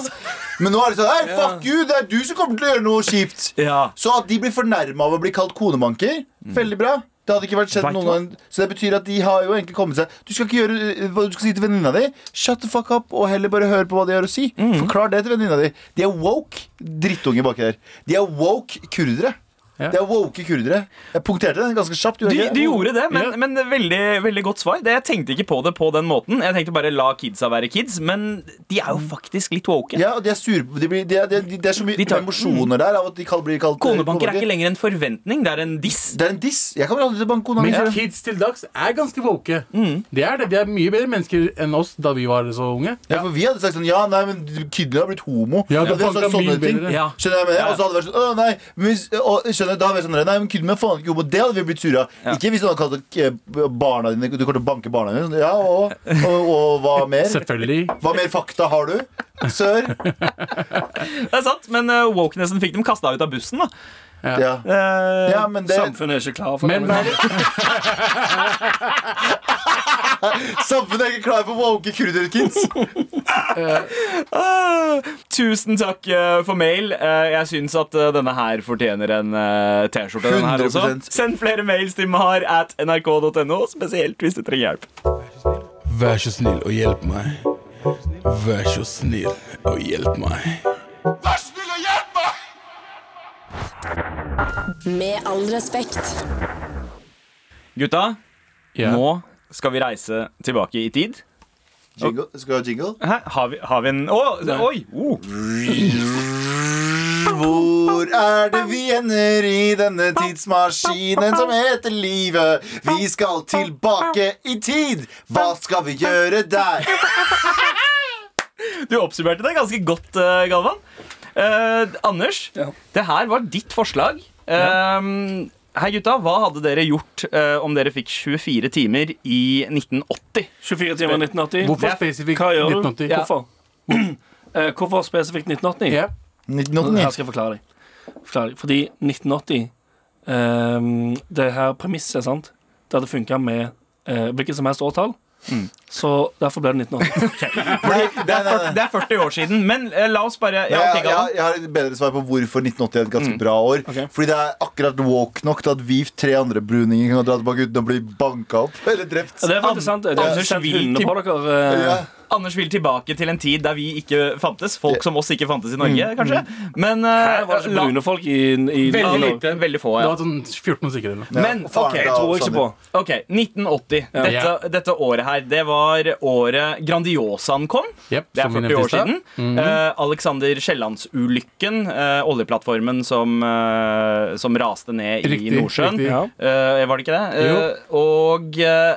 Men nå er det sånn hei, fuck you, det er du som kommer til å gjøre noe kjipt.
Ja.
Så at de blir fornærma av å bli kalt konebanker,
Mm.
veldig bra. Det hadde ikke vært skjedd
Vet du
noen gang. Så det betyr at de har jo egentlig kommet seg Du skal ikke gjøre eh, hva- Du skal si til venninna di Shut the fuck up, og heller bare høre på hva de har å si.
Mm.
Forklar det til venninna di. De er woke drittunge baki der. De er woke kurdere.
Ja.
De er woke kurdere. Jeg punkterte den ganske kjapt. gjorde
Du,
jeg ikke?
du gjorde det, men,
Ja.
men veldig, veldig godt svar. Det, jeg tenkte ikke på det på den måten. Jeg tenkte bare la kidsa være kids, men de er jo faktisk litt woke.
Ja, og de er sure på- de blir, de er, de, de, Det er så mye
De tar-
emosjoner der av at de kal- blir kalt eh,
Konebanker er ikke lenger en forventning, det er en diss.
Det er en diss. Jeg kommer aldri til å banke kona mi.
Men kids til dags er ganske woke. De er det. De er mye bedre mennesker enn oss da vi var så unge.
Ja, for vi hadde sagt sånn Ja, nei, men kidene har blitt homo.
Ja, det
vi hadde sagt sånn
funker mye
sånne ting
bedre.
Ja.
Skjønner jeg med det? Og så hadde det vært sånn Å, nei. Men hvis, og, skjønner, da hadde vi vært sånn Nei, men kidene er faen ikke homo. Det hadde vi blitt sure av. Ikke hvis noen hadde kalt eh, barna dine Du kommer til å banke barna dine. Sånn, Ja, og, og, og hva mer?
Selvfølgelig.
Hva mer fakta har du? Sør?
Det er sant, men eh, wokenessen fikk dem kasta ut av bussen, da.
Ja.
Eh,
ja, men det
Samfunnet er ikke klar for
Men
det.
hva er det,
Samfunnet er ikke klar for woke kurderkids.
ah, tusen takk eh, for mail. Eh, jeg syns at eh, denne her fortjener en eh, T-skjorte. den her også
100%.
Send flere mails til mar at nrk.no, spesielt hvis du trenger hjelp.
Vær så snill og hjelp meg. Vær så snill og hjelp meg.
Med all respekt.
Gutta,
Ja.
nå skal vi reise tilbake i tid.
Jingle. Skal vi ha jingle?
Hæ? Har vi, har vi en Å, oi! Oh.
hvor er det vi ender i denne tidsmaskinen som heter livet? Vi skal tilbake i tid. Hva skal vi gjøre der?
Du oppsummerte det ganske godt, eh, Galvan. Eh, Anders,
Ja.
det her var ditt forslag. Eh, hei, gutta. Hva hadde dere gjort eh, om dere fikk 24 timer i 1980?
24 timer 1980.
Hvorfor
Ja.
spesifikt
Hva gjør du?
1980? Ja.
Hvorfor? Eh, Hvorfor spesifikt 1980?
Ja.
Her
1989.
skal jeg forklare deg. Forklare deg. Fordi 1980 ehm, Det her premisset, sant Det hadde funka med eh, hvilket som helst årtall. Så derfor ble det 1980.
Nei,
Det
nei,
er,
nei,
40, det er 40 år siden, men eh, la oss bare ja,
Ja,
ok,
jeg,
Galvan.
jeg, jeg har et bedre svar på hvorfor 1980 er et ganske bra år.
Ok.
Fordi det er akkurat woke nok til at vi tre andre bruninger kan dra tilbake uten å bli banka opp eller drept.
Ja, Det er faktisk sant. Det
Anders
er sendt
vil
hundene
til-
på dere. eh,
Ja.
Anders vil tilbake til en tid der vi ikke fantes. Folk som oss ikke fantes i Norge,
Mm.
kanskje. Men
Her var det ikke brune folk i, i
veldig,
Norge.
lite, veldig få,
Du
ja.
har sånn 14 stykker eller noe.
Men
faren
ok,
da,
jeg
Tror jeg ikke på.
Sander.
Ok, 1980. Dette, dette året her, det var året Grandiosaen kom.
Jep,
Det er
som vi
40 år
nevnte i Mhm.
siden. Eh, Alexander Kiellands-ulykken. eh, oljeplattformen som, eh, som raste ned
Riktig,
i Nordsjøen.
riktig.
Ja.
Eh, var det ikke det? Eh, og eh,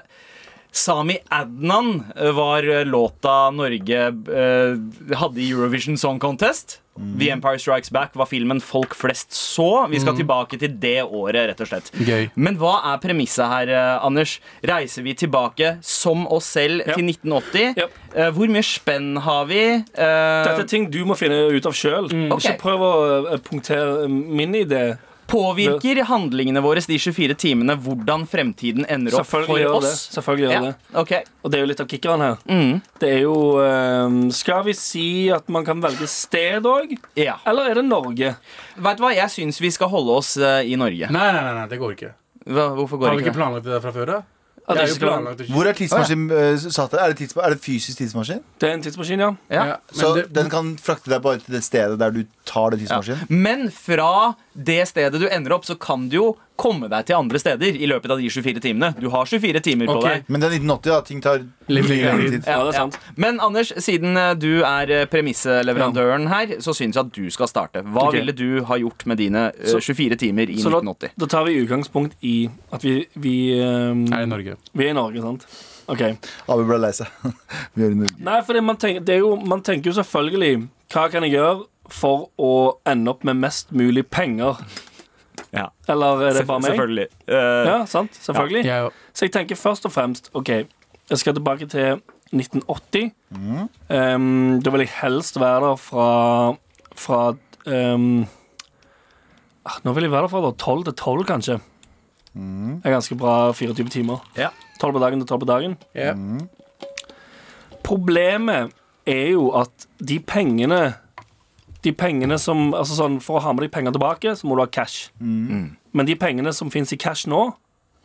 Sami Adnan eh, var eh, låta Norge eh, hadde i Eurovision Song Contest.
Mhm.
The Empire Strikes Back var filmen folk flest så. Vi skal tilbake til det året, rett og slett.
Gøy.
Men hva er premisset her, eh, Anders? Reiser vi tilbake som oss selv
Ja.
til 1980?
Ja.
Eh, hvor mye spenn har vi? Eh,
Dette er ting du må finne ut av sjøl.
Ok.
Ikke prøv å eh, punktere min idé.
påvirker handlingene våre de 24 timene hvordan fremtiden ender opp
Selvfølgelig
for
gjør det.
oss?
Selvfølgelig gjør det.
Ja, ok. Mm.
Og det er jo litt av kickeren her. Det er jo ehm, Skal vi si at man kan velge sted òg?
Ja.
Eller er det Norge?
Vet du hva, jeg syns vi skal holde oss eh, i Norge.
Nei, nei, nei, nei, det går ikke.
Hva, hvorfor
Har
går
vi
ikke
ikke
det?
planlagt det der fra før? da? Det
At det,
er jo
ikke skal være-
planlagt å
Hvor er tidsmaskinen eh, satt? Er det, tidsma er det fysisk tidsmaskin?
det er en tidsmaskin, ja.
Ja.
Ja, men
Så
det-
den kan frakte deg bare til det stedet der du tar den tidsmaskinen?
Men fra det stedet du ender opp, så kan du jo komme deg til andre steder i løpet av de 24 timene. Du har 24 timer på
Ok.
deg.
Men det er 1980, da. Ting tar
Litt
mye
lenger
lengre
tid.
tid.
Ja, det er sant.
Men Anders, siden eh, du er eh, premisseleverandøren her, så syns jeg at du skal starte. Hva
Ok.
ville du ha gjort med dine eh,
Så-
24 timer i
Så da,
1980?
da tar vi utgangspunkt i at vi, vi, ehm,
Her i Norge.
vi er i Norge, sant? OK.
Abu ble lei seg. Vi gjør det nå.
Nei, for man, tenker, det er jo, man tenker jo selvfølgelig Hva kan jeg gjøre for å ende opp med mest mulig penger?
Ja.
Eller er det bare meg?
Selvfølgelig. Eh,
Ja, sant? Selvfølgelig.
Jeg,
Så jeg tenker først og fremst OK, jeg skal tilbake til 1980. Um, da vil jeg helst være der fra, fra um, ah, Nå vil jeg være der fra da, 12 til 12, kanskje. Det er ganske bra 24 timer.
Ja.
12 på dagen til 12 på dagen.
Ja.
Problemet er jo at de pengene De pengene som Altså sånn, for å ha med deg penger tilbake, så må du ha cash. Men de pengene som fins i cash nå,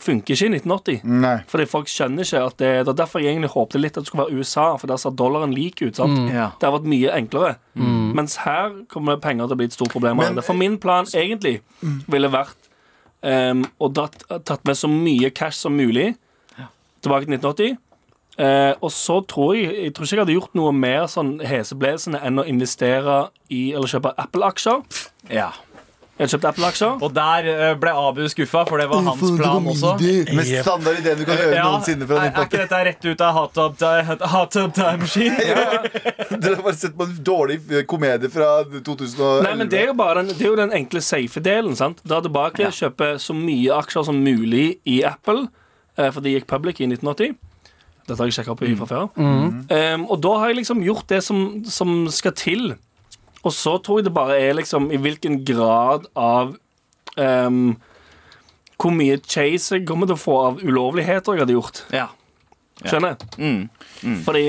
funker ikke i 1980.
Nei.
Fordi folk skjønner ikke at det, det er derfor jeg egentlig håpte litt at det skulle være USA, for der ser dollaren lik ut. sant?
Ja.
Det har vært mye enklere. Mens her kommer penger til å bli et stort problem.
Men-
for min plan egentlig ville vært um, å dratt, tatt med så mye cash som mulig tilbake til 1980. Eh, og så tror jeg Jeg tror ikke jeg hadde gjort noe mer sånn heseblesende enn å investere i eller kjøpe Apple-aksjer.
ja.
Jeg hadde kjøpt Apple-aksjer.
Og der eh, ble Abu skuffa, for det var hans plan også.
Mest standard ideen du kan gjøre
Ja,
noensinne fra
er, er
1980.
ikke dette rett ut av Hot Tub Ti- Hot Tub Time Machine?
Dere har bare sett på en dårlig eh, komedie fra 2011.
Nei, men det er jo bare den, det er jo den enkle safe delen. sant? Dra tilbake, kjøpe så mye aksjer som mulig i Apple, eh, for de gikk public i 1980. Dette har jeg sjekka
Mm.
opp i fra før. Em, og da har jeg liksom gjort det som, som skal til. Og så tror jeg det bare er liksom i hvilken grad av em, Hvor mye chase jeg kommer til å få av ulovligheter jeg hadde gjort.
Ja. Mm.
Skjønner jeg? Fordi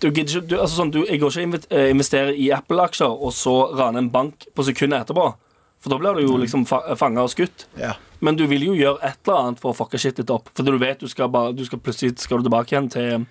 du gidder ikke du, altså sånn, du, Jeg går ikke invit- eh, investere i Apple-aksjer og så rane en bank på sekundet etterpå. For da blir du jo liksom fa fanga og skutt.
Ja.
Men du vil jo gjøre et eller annet for å fucke shit litt opp. For du vet du skal bare, du skal plutselig skal du tilbake igjen til,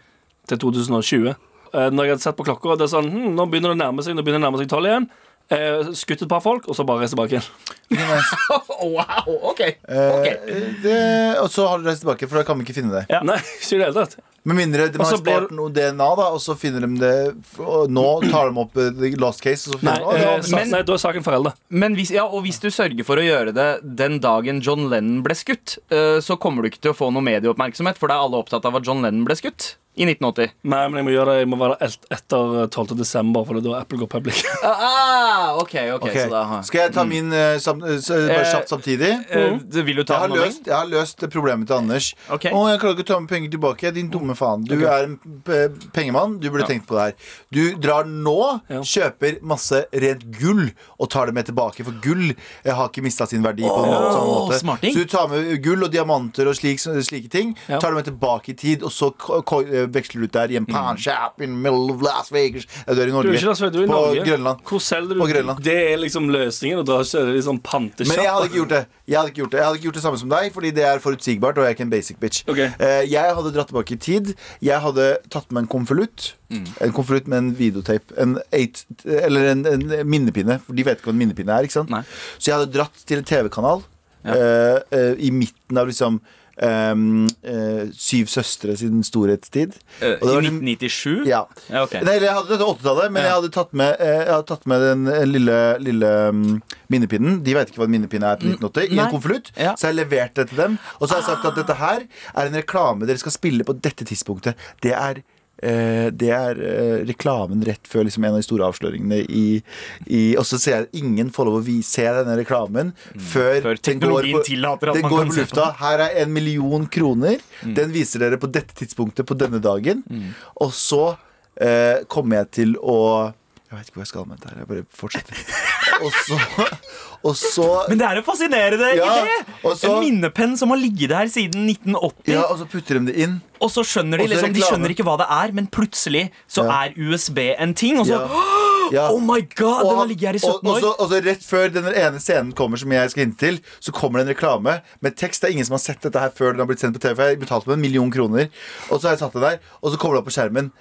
til 2020. Eh, når jeg hadde sett på klokka, og det er sånn hm, Nå begynner det å nærme seg nå begynner det å nærme seg tolv igjen. eh, skutt et par folk, og så bare reist tilbake igjen.
wow, ok.
Eh, det, og så har du reist tilbake, for da kan vi ikke finne deg.
Ja.
Nei, ikke i det hele tatt.
Med mindre de
Og
har
så blir-
spart noe DNA, da, og så finner de det og Nå tar de opp eh, the last case, og så
Nei,
finner de
eh,
Å,
sa-
men-
nei, da er saken foreldet.
Men hvis, ja, og hvis du sørger for å gjøre det den dagen John Lennon ble skutt, eh, så kommer du ikke til å få noe medieoppmerksomhet, for da er alle opptatt av at John Lennon ble skutt i 1980.
Nei, men jeg må gjøre det Jeg må være der et- etter 12. desember, for det er da Apple går public.
Ah, ok, ok,
Ok,
så da har-
Skal jeg ta min eh, sam, eh, s- bare
Eh,
kjapt samtidig?
Eh, du- Vil du
Jeg
ta
har,
den
løst, jeg har løst problemet til Anders.
Ok.
Å, jeg klarer ikke å ta med penger tilbake. Din
Oh.
dumme faen. Du er en p- pengemann. Du burde tenkt på det her. Du drar nå,
Ja.
kjøper masse rent gull og tar det med tilbake. For gull eh, har ikke mista sin verdi. på en måte, samme måte.
smarting.
Så du tar med gull og diamanter og slik, slike ting.
Ja. Mm.
Tar det med tilbake i tid, og så ko- ko- eh, veksler du ut der i en panshap in middle of Las Vegas. Ja, Du er i
Du
Norge.
er ikke Las Vegas, du er i
på
Norge.
Grønland.
Hvor selger
På
du?
Grønland.
Det er liksom løsningen, og da kjører de sånn pantesjapp.
Men jeg hadde ikke gjort det. Jeg hadde ikke gjort det Jeg hadde ikke gjort det samme som deg, fordi det er forutsigbart, og jeg er ikke en basic bitch.
Ok.
Eh, Jeg hadde dratt tilbake i tid. Jeg hadde tatt med en konvolutt.
Mm.
En konvolutt med en videotape. En eight, eller en, en minnepinne, for de vet ikke hva en minnepinne er. ikke sant?
Nei.
Så jeg hadde dratt til en TV-kanal eh, eh, i midten av liksom eh, eh, Syv søstre sin storhetstid.
Eh,
Og det var
I
liksom-
1997?
ja.
Ja, ok.
Nei, eller jeg hadde dette 80-tallet, men
Ja.
jeg hadde tatt med, eh, jeg hadde tatt med den eh, lille, lille mm, minnepinnen. De vet ikke hva en minnepinne er til 1980. I
Mm, nei.
en konvolutt.
Ja. Ah.
Så jeg leverte det til dem. Og så har jeg sagt at dette her er en reklame dere skal spille på dette tidspunktet. Det er eh, det er eh, reklamen rett før liksom, en av de store avsløringene i, i Og så ser jeg at ingen får lov å vi- se denne
Mm.
reklamen før,
Før
den går
teknologien tillater at
den
man
går
kan
på
se på Mm.
lufta. Her er en million kroner. Den viser dere på dette tidspunktet på denne dagen. Og så eh, kommer jeg til å Jeg vet ikke hvor jeg skal med dette. her Jeg bare fortsetter. og så, og så
Men det er en fascinerende
Ja,
idé!
og så-
en minnepenn som har ligget der siden 1980,
ja, og så putter de det inn.
og så skjønner de
og så
liksom, de
reklame.
skjønner ikke hva det er, men plutselig så
Ja.
er USB en ting, og så
Ja. Ja.
Oh my god, den
Og
har
han-
ligget her i 17
og, og,
år.
så, og så rett før den ene scenen kommer, som jeg skal hinte til, så kommer det en reklame med tekst. Det er ingen som har sett dette her før den har blitt sendt på TV. for Jeg betalte med en million kroner. Og så har jeg satt det der, og så kommer det opp på skjermen.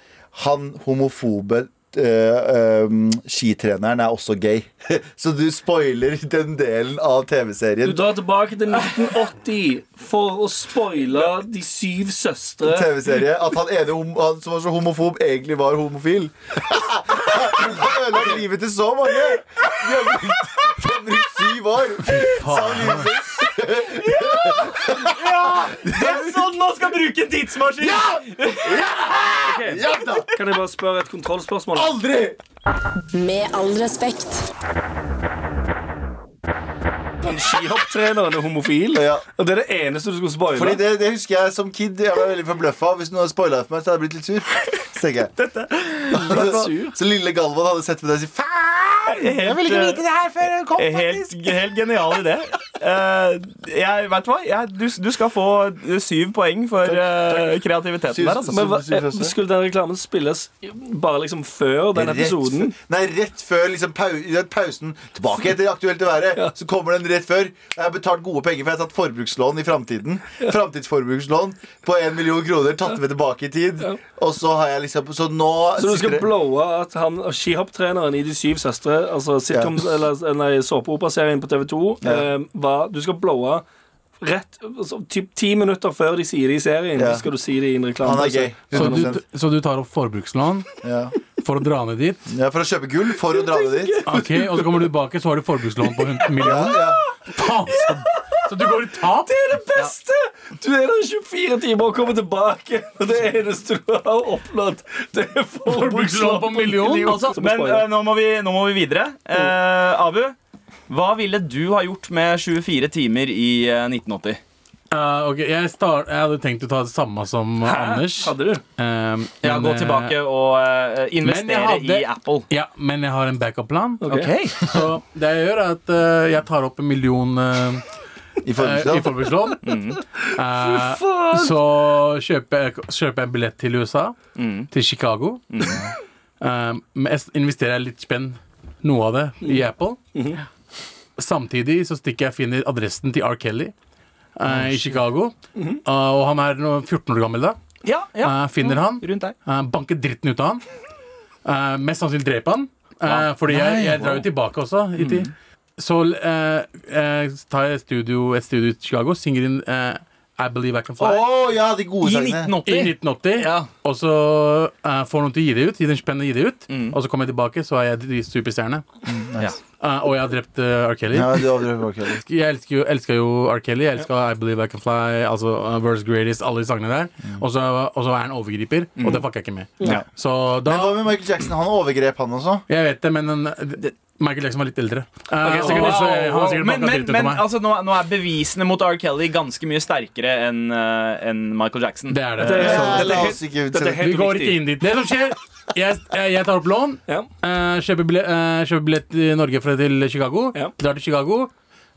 Han homofobe eh, eh, skitreneren er også gay. så du spoiler den delen av TV-serien.
Du drar tilbake til 1980 for å spoile De syv søstre.
TV-serie At han ene hom- han som var så homofob, egentlig var homofil. Han ødela livet til så mange! De har brukt, de har brukt syv år. Sammenlignet med
Det er sånn man skal bruke en tidsmaskin!
Ok,
Ja da!
Kan jeg bare spørre et kontrollspørsmål?
Aldri!
Med all respekt.
Han skihopptreneren er homofil,
Ja.
og det er det eneste du skulle
Fordi
spoile?
det, det husker jeg som kid. Jeg var veldig forbløffa. Hvis noen hadde spoila for meg, så hadde jeg blitt litt sur. Så tenker jeg
sur.
Så lille Galvan hadde sett på deg og sagt faen! Jeg ville ikke vite det her før jeg
Eh,
kom,
Helt,
faktisk!
helt genial idé. Eh, jeg, vet du hva? Jeg, du, du skal få syv poeng for eh, kreativiteten
Syv-
der. Altså.
Men hva,
Syv søstre.
eh, skulle den reklamen spilles bare liksom før den episoden?
Rett, f- nei, rett før liksom, pau, i den pausen. Tilbake etter Aktuelt i været. Så kommer den rett før. Jeg har betalt gode penger, for jeg har tatt forbrukslån i framtiden. Framtidsforbrukslån på én million kroner. Tatt det med tilbake i tid. Og så har jeg liksom Så nå
Så du
sitter
skal
det-
blowe at han skihopptreneren i De syv søstre, altså sitcom,
Ja.
eller nei, såpeoperaserien på TV2,
Ja.
eh, var Du skal blowe rett altså, typ ti minutter før de sier det i serien.
Ja.
Så skal du si det i en reklame. altså.
Han er gay.
Så du,
100%.
så du tar opp forbrukslån
Ja.
for å dra ned dit.
ja, For å kjøpe gull, for å dra det dit.
Ok, Og så kommer du tilbake, så har du forbrukslån på 100
Ja,
millioner.
ja.
Faen, så, så du går i tap?
Beste! Du er der i 24 timer og kommer tilbake, og det eneste du har oppnådd, det er
Forbrukslån på
forbrukslån.
million, altså.
Men eh, nå, må vi, nå må vi videre. Eh, Abu, hva ville du ha gjort med 24 timer i eh, 1980?
Eh, ok, jeg, start, jeg hadde tenkt å ta det samme som Anders.
Hadde du?
Um,
Ja, gå tilbake og eh, investere
men jeg hadde-
i Apple.
Ja, men jeg har en backup-plan.
Ok.
Så det jeg gjør, er at eh, jeg tar opp en million eh,
I
eh, i
forbrukslån.
forbrukslån. Eh, så kjøper jeg, kjøper jeg billett til USA, til Chicago. Eh, men jeg s- investerer jeg litt spenn, noe av det, i Apple. Samtidig så stikker jeg finner adressen til R. Kelly eh, i Chicago. Eh, og han er nå 14 år gammel da.
Ja, ja.
Eh, finner han.
Rundt der.
Eh, banker dritten ut av han. Eh, mest sannsynlig dreper han. Eh, fordi jeg,
Nei,
jeg drar
wow. Mm.
jo tilbake også i tid. Så eh, eh, tar jeg studio, et studio i Chicago, synger inn eh, I Believe I Can Fly.
Å, ja, de gode
I
sangene.
1980.
I 1980.
Ja.
Og så eh, får noen til å gi det ut. Gi den spennende gi det ut
Mm.
Og så kommer jeg tilbake, så er jeg dri- superstjerne. Eh, og jeg har drept eh, R. Kelly.
Ja, de overdrev ikke heller.
Jeg elsker jo, elsker jo R. Kelly. Jeg elsker I Believe I Can Fly, altså uh, World's Greatest, alle de sangene der.
Mm.
Og så og så er han overgriper, og det fucker jeg ikke med.
Ja.
Så da
Men hva med Michael Jackson? Han overgrep, han også.
Jeg vet det, men eh, Michael Jackson var litt eldre. Eh,
Ok,
sikkert
wow,
også, eh, han har
wow.
sikkert
Men,
banka
men,
dritt ut av
men
meg.
altså, nå, nå er bevisene mot R. Kelly ganske mye sterkere enn eh, enn Michael Jackson.
Det er det.
Det er-
Så,
Ja,
dette
la
er
oss ikke
dette er
se-
helt
vi går
riktig.
ikke inn dit. Det som skjer, jeg, jeg jeg tar opp lån,
Ja.
eh, kjøper, billett, kjøper billett i Norge fra til Chicago,
Ja.
drar til Chicago,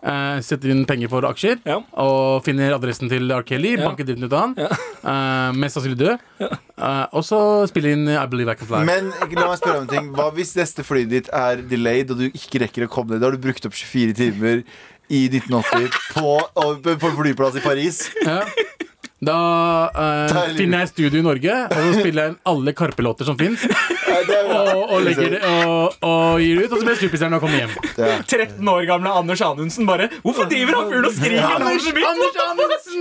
eh, setter inn penger for aksjer
Ja.
og finner adressen til R. Kelly,
Ja.
banker dritten ut av han, eh, mest sannsynlig død, eh, og så spiller inn I Believe I Can Fly.
Men la meg spørre om en ting Hva hvis neste flyet ditt er delayed Og du ikke rekker å komme ned Da har du brukt opp 24 timer i 1980 På, og- på en flyplass i Paris
Ja. Da eh,
Deilig.
finner jeg studio i Norge, og så spiller jeg inn alle Karpe-låter som fins,
Nei, det er bra.
og, og, legger, det- og, og gir det ut, og så blir jeg superstjerne og kommer hjem.
Ja.
13 år gamle Anders Anundsen bare Hvorfor driver han fyren og skriker Anders Schmidt?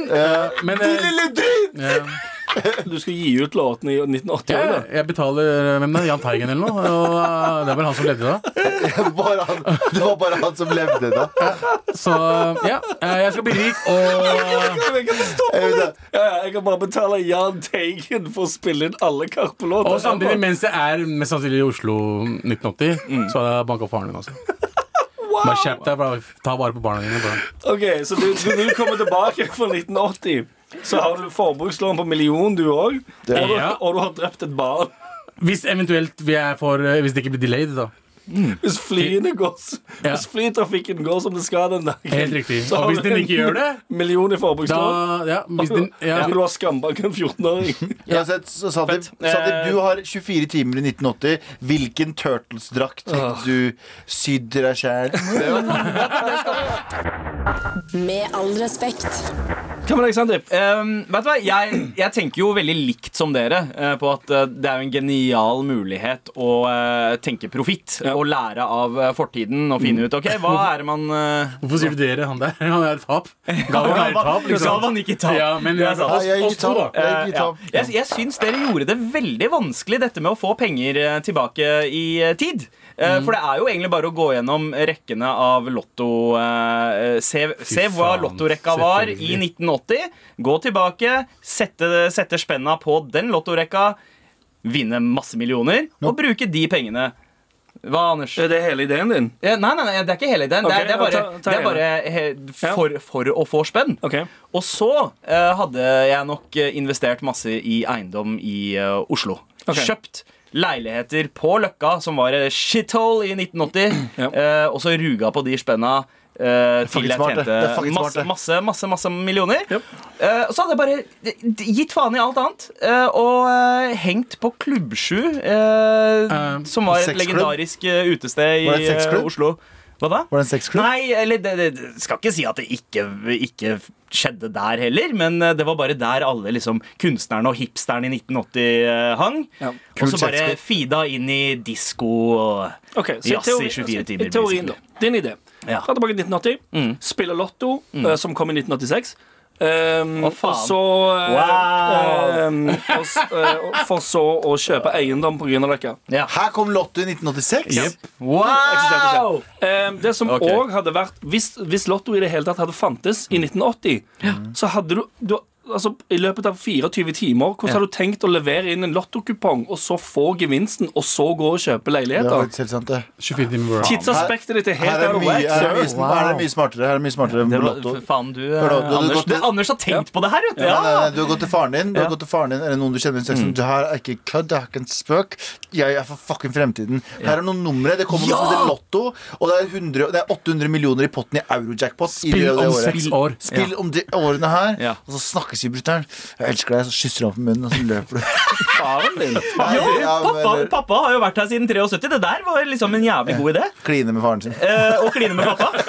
Men eh, ja.
Du skal gi ut låten i 1980
Ja,
òg, da.
ja, jeg betaler eh, hvem da? Jahn Teigen eller noe? Og eh, det er vel han som levde da.
Bare han, det var bare han som levde da
Så ja, eh, jeg skal bli rik og
Jeg kan ikke stoppe
Jeg vet det.
det. Ja, ja, jeg kan bare betale Jahn Teigen for å spille inn alle Karpe-låter.
og samtidig, mens jeg er mest sannsynlig i Oslo 1980, så hadde jeg banka faren min også. Bare skjerp deg, bare ta vare på barna dine. Bare.
Ok, Så du, du, du kommer tilbake fra 1980. Så har du forbrukslån på million, du òg. Og, du-
Ja.
og du har drept et barn.
Hvis eventuelt vi er for eh, Hvis det ikke blir delayed, da.
Hvis, flyene går, s-
Ja.
hvis flytrafikken går som det skal den dagen,
Helt riktig.
så har
Og hvis
du
den
en
ikke gjør det,
million i
da
forbrukslån.
Ja. Hvis den, ja.
Ja. Du har skambank en 14-åring.
Uansett, så Sadib,
Eh.
Sadib, du har 24 timer i 1980 Hvilken turtlesdrakt fikk du sydde deg selv
Med all respekt.
Hva med deg, Sandeep?
Um, vet du hva, jeg, jeg tenker jo veldig likt som dere eh, på at eh, det er jo en genial mulighet å eh, tenke profitt og lære av eh, fortiden og finne ut OK, hva er det man eh,
Hvorfor sier du dere? Han der Han er et tap. Galvan er et tap, liksom.
Galvan gikk i tap.
Ja, men
Det er
altså,
sant.
oss,
Nei, jeg gikk
oss to, da.
tap. Jeg gikk
Altså, Eh, ja.
tap.
Jeg, jeg syns dere gjorde det veldig vanskelig, dette med å få penger eh, tilbake i eh, tid. Eh,
Mm.
For det er jo egentlig bare å gå gjennom rekkene av Lotto eh, Se, se hva
faen,
Lottorekka var i
selvfølgelig.
1980. Gå tilbake, sette, sette spenna på den Lottorekka, vinne masse millioner og bruke de pengene. Hva, Anders?
Er det hele ideen din?
Eh, Nei, nei, nei, det er ikke hele ideen. Det
Ok,
er, det er bare,
ta- ta
det er bare he- for, for å få spenn.
Ok.
Og så eh, hadde jeg nok eh, investert masse i eiendom i eh, Oslo.
Ok.
Kjøpt leiligheter på Løkka, som var eh, shithole i 1980,
Ja.
eh, og så ruga på de spenna. eh, til
fucking
jeg
smart, det.
tjente
Det er fucking smart,
masse,
det.
masse masse, masse millioner.
Yep.
Eh, og så hadde jeg bare d- d- gitt faen i alt annet eh, og eh, hengt på Klubb 7, eh,
Eh,
som var et
sexklubb?
legendarisk eh, utested i
Var det et
eh,
sexklubb?
Oslo. Hva da?
Var det en sexklubb?
Nei, eller det, det- det skal ikke si at det ikke, ikke skjedde der heller, men eh, det var bare der alle liksom, kunstnerne og hipsterne i 1980 eh, hang.
Ja.
Og så
Kult
bare
selskap.
fida inn i disko og
Ok, så
Jazz i 24 timer,
I teorien, da.
basically.
Din idé.
Ja. Mm.
Dra tilbake til 1980, spille Lotto, eh, som kom i 1986. Um,
Å, faen.
og så eh,
Wow.
ehm, og, s- eh, og for så å kjøpe eiendom på Grünerløkka.
ja.
Her kom Lotto i 1986
Wow!
Ehm, det som òg
Ok.
hadde vært hvis, hvis Lotto i det hele tatt hadde fantes
Mm.
i 1980, så hadde du, du Altså, I løpet av 24 timer, hvordan har du tenkt å levere inn en lottokupong, og så få gevinsten, og så gå og kjøpe
Det var
leiligheter?
faktisk helt sant det
24 timer bro.
Tidsaspektet ditt er
Her
helt
er
out
det
of
mye,
whack.
her er det
sir.
mye, sm- her er det mye smartere Her er det mye smartere enn
Det var,
Lotto
faen, du, eh,
Hør da, du hadde
Anders,
gått til-
det, Anders har tenkt på det her, vet du.
Nei, nei,
Ja.
nei, du har gått til faren din, du har gått til faren din eller noen du kjenner i sexen. Det her er ikke kødd, det er ikke en spøk. Jeg er for fucking fremtiden. Her er noen numre. Det kommer noe som heter Lotto, og det er, 100, det er 800 millioner i potten i eurojackpot. i
Spill
det
om
året.
seks år.
Spill om de årene her,
Ja.
og så snakkes vi, brutter'n. Jeg elsker deg, så kysser du ham på munnen, og så løper du.
faren din.
Nei, ja, men-
Pappa, pappa har jo vært her siden 73. Det der var liksom en jævlig god idé.
Kline med faren sin.
Eh, å kline med pappa.
Du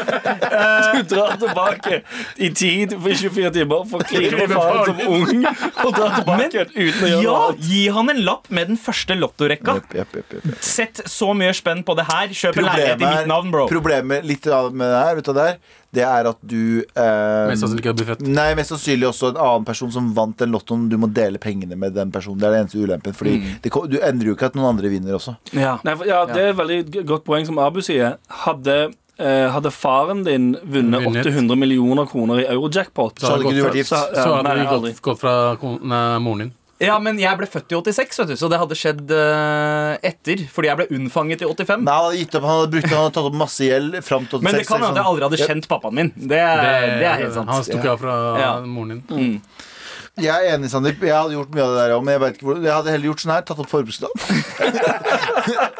drar tilbake i tid for 24 timer for å kline med faren som ung, og drar tilbake
Men-
igjen uten å gjøre noe
Ja,
annet.
gi han en lapp med den første lottorekka.
Jepp, jepp, jepp, jepp.
Sett så mye spenn på det her. Kjøp en
Problemet
leilighet i
er-
mitt navn, bro.
Problemet litt av med det her, vet du, der, det er at du eh,
Um,
Mest sannsynlig ikke hadde blitt født.
Nei, mest sannsynlig også en annen person som vant den lottoen. Du må dele pengene med den personen. Det er den eneste ulempen. Fordi det, ko- du endrer jo ikke at noen andre vinner også.
Ja.
Nei, for, ja, det er et veldig g- godt poeng som Abu sier. Hadde, eh, hadde faren din vunnet
Vunnet.
800 millioner kroner i eurojackpot
Så hadde ikke du vært gift.
Så-
Så
ja,
hadde
nei,
du
aldri.
gått, gått fra kon- nei, moren din.
ja, men jeg ble født i 86, vet du, så det hadde skjedd eh, etter. Fordi jeg ble unnfanget i 85.
Nei, han hadde gitt opp, han hadde, brukt, han hadde tatt opp masse gjeld fram til 86.
Men det kan
sånn.
hende jeg aldri hadde kjent pappaen min. Det, det, er helt
Han
sant.
stukket av fra
Ja.
moren din.
Jeg er enig, Sandeep. Jeg hadde gjort mye av det der òg, men jeg, vet ikke hvor, jeg hadde heller gjort sånn her. Tatt opp forbrukslån.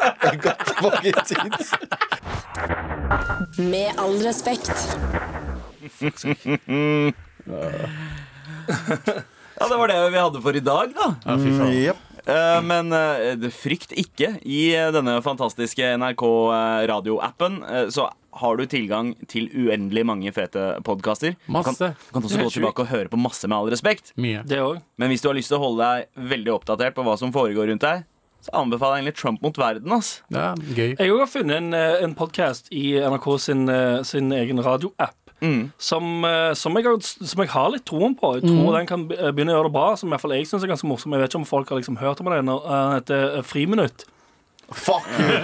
Jeg Gått tilbake i tid.
Med all respekt.
Ja, Det var det vi hadde for i dag, da.
Jepp.
Eh, men eh, det- frykt ikke. I eh, denne fantastiske NRK-radioappen Eh, så har du tilgang til uendelig mange fete podkaster. Du kan,
Masse.
du kan også gå tilbake og høre på masse, med all respekt.
Mye.
Det òg.
Men hvis du har lyst til å holde deg veldig oppdatert på hva som foregår rundt deg, så anbefaler jeg egentlig Trump mot verden. ass
Ja, gøy.
Jeg òg har funnet en, eh, en podkast i NRK sin, eh, sin egen radioapp. Som, eh, som, jeg har, som jeg har litt troen på. Jeg tror den kan be- eh, begynne å gjøre det bra. Som i hvert fall jeg synes er ganske morsom. Jeg vet ikke om folk har liksom hørt om den. og, eh, Den heter eh, Friminutt.
Fuck you!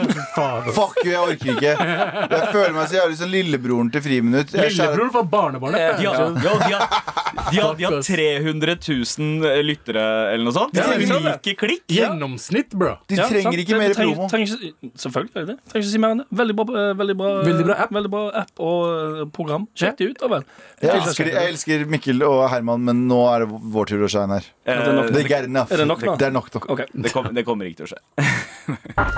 Fuck you, jeg orker ikke. Jeg føler meg så jævlig som lillebroren til Friminutt. Jeg skjærer-
Lillebror var barnebarnet.
De har, Eh, ja, de har, de har, de har 300 000 eh, lyttere eller noe sånt.
Ja, ikke sant det?
Unike klikk.
Gjennomsnitt, bro.
De
Ja, sant?
trenger
Det-
ikke mer
det trenger-
promo.
Trenger, ikke- selvfølgelig gjør de det. Trenger ikke si mer enn det. Veldig bra, eh, veldig bra,
Veldig bra app.
veldig bra app og eh, program. Sjekk det ut, da vel.
Jeg elsker, jeg elsker Mikkel og Herman, men nå er det vår tur å shine her.
Eh,
det er nok.
Det er enough.
Er det nok nå?
Det er nok nå.
Ok.
det, kom, det kommer ikke til å skje.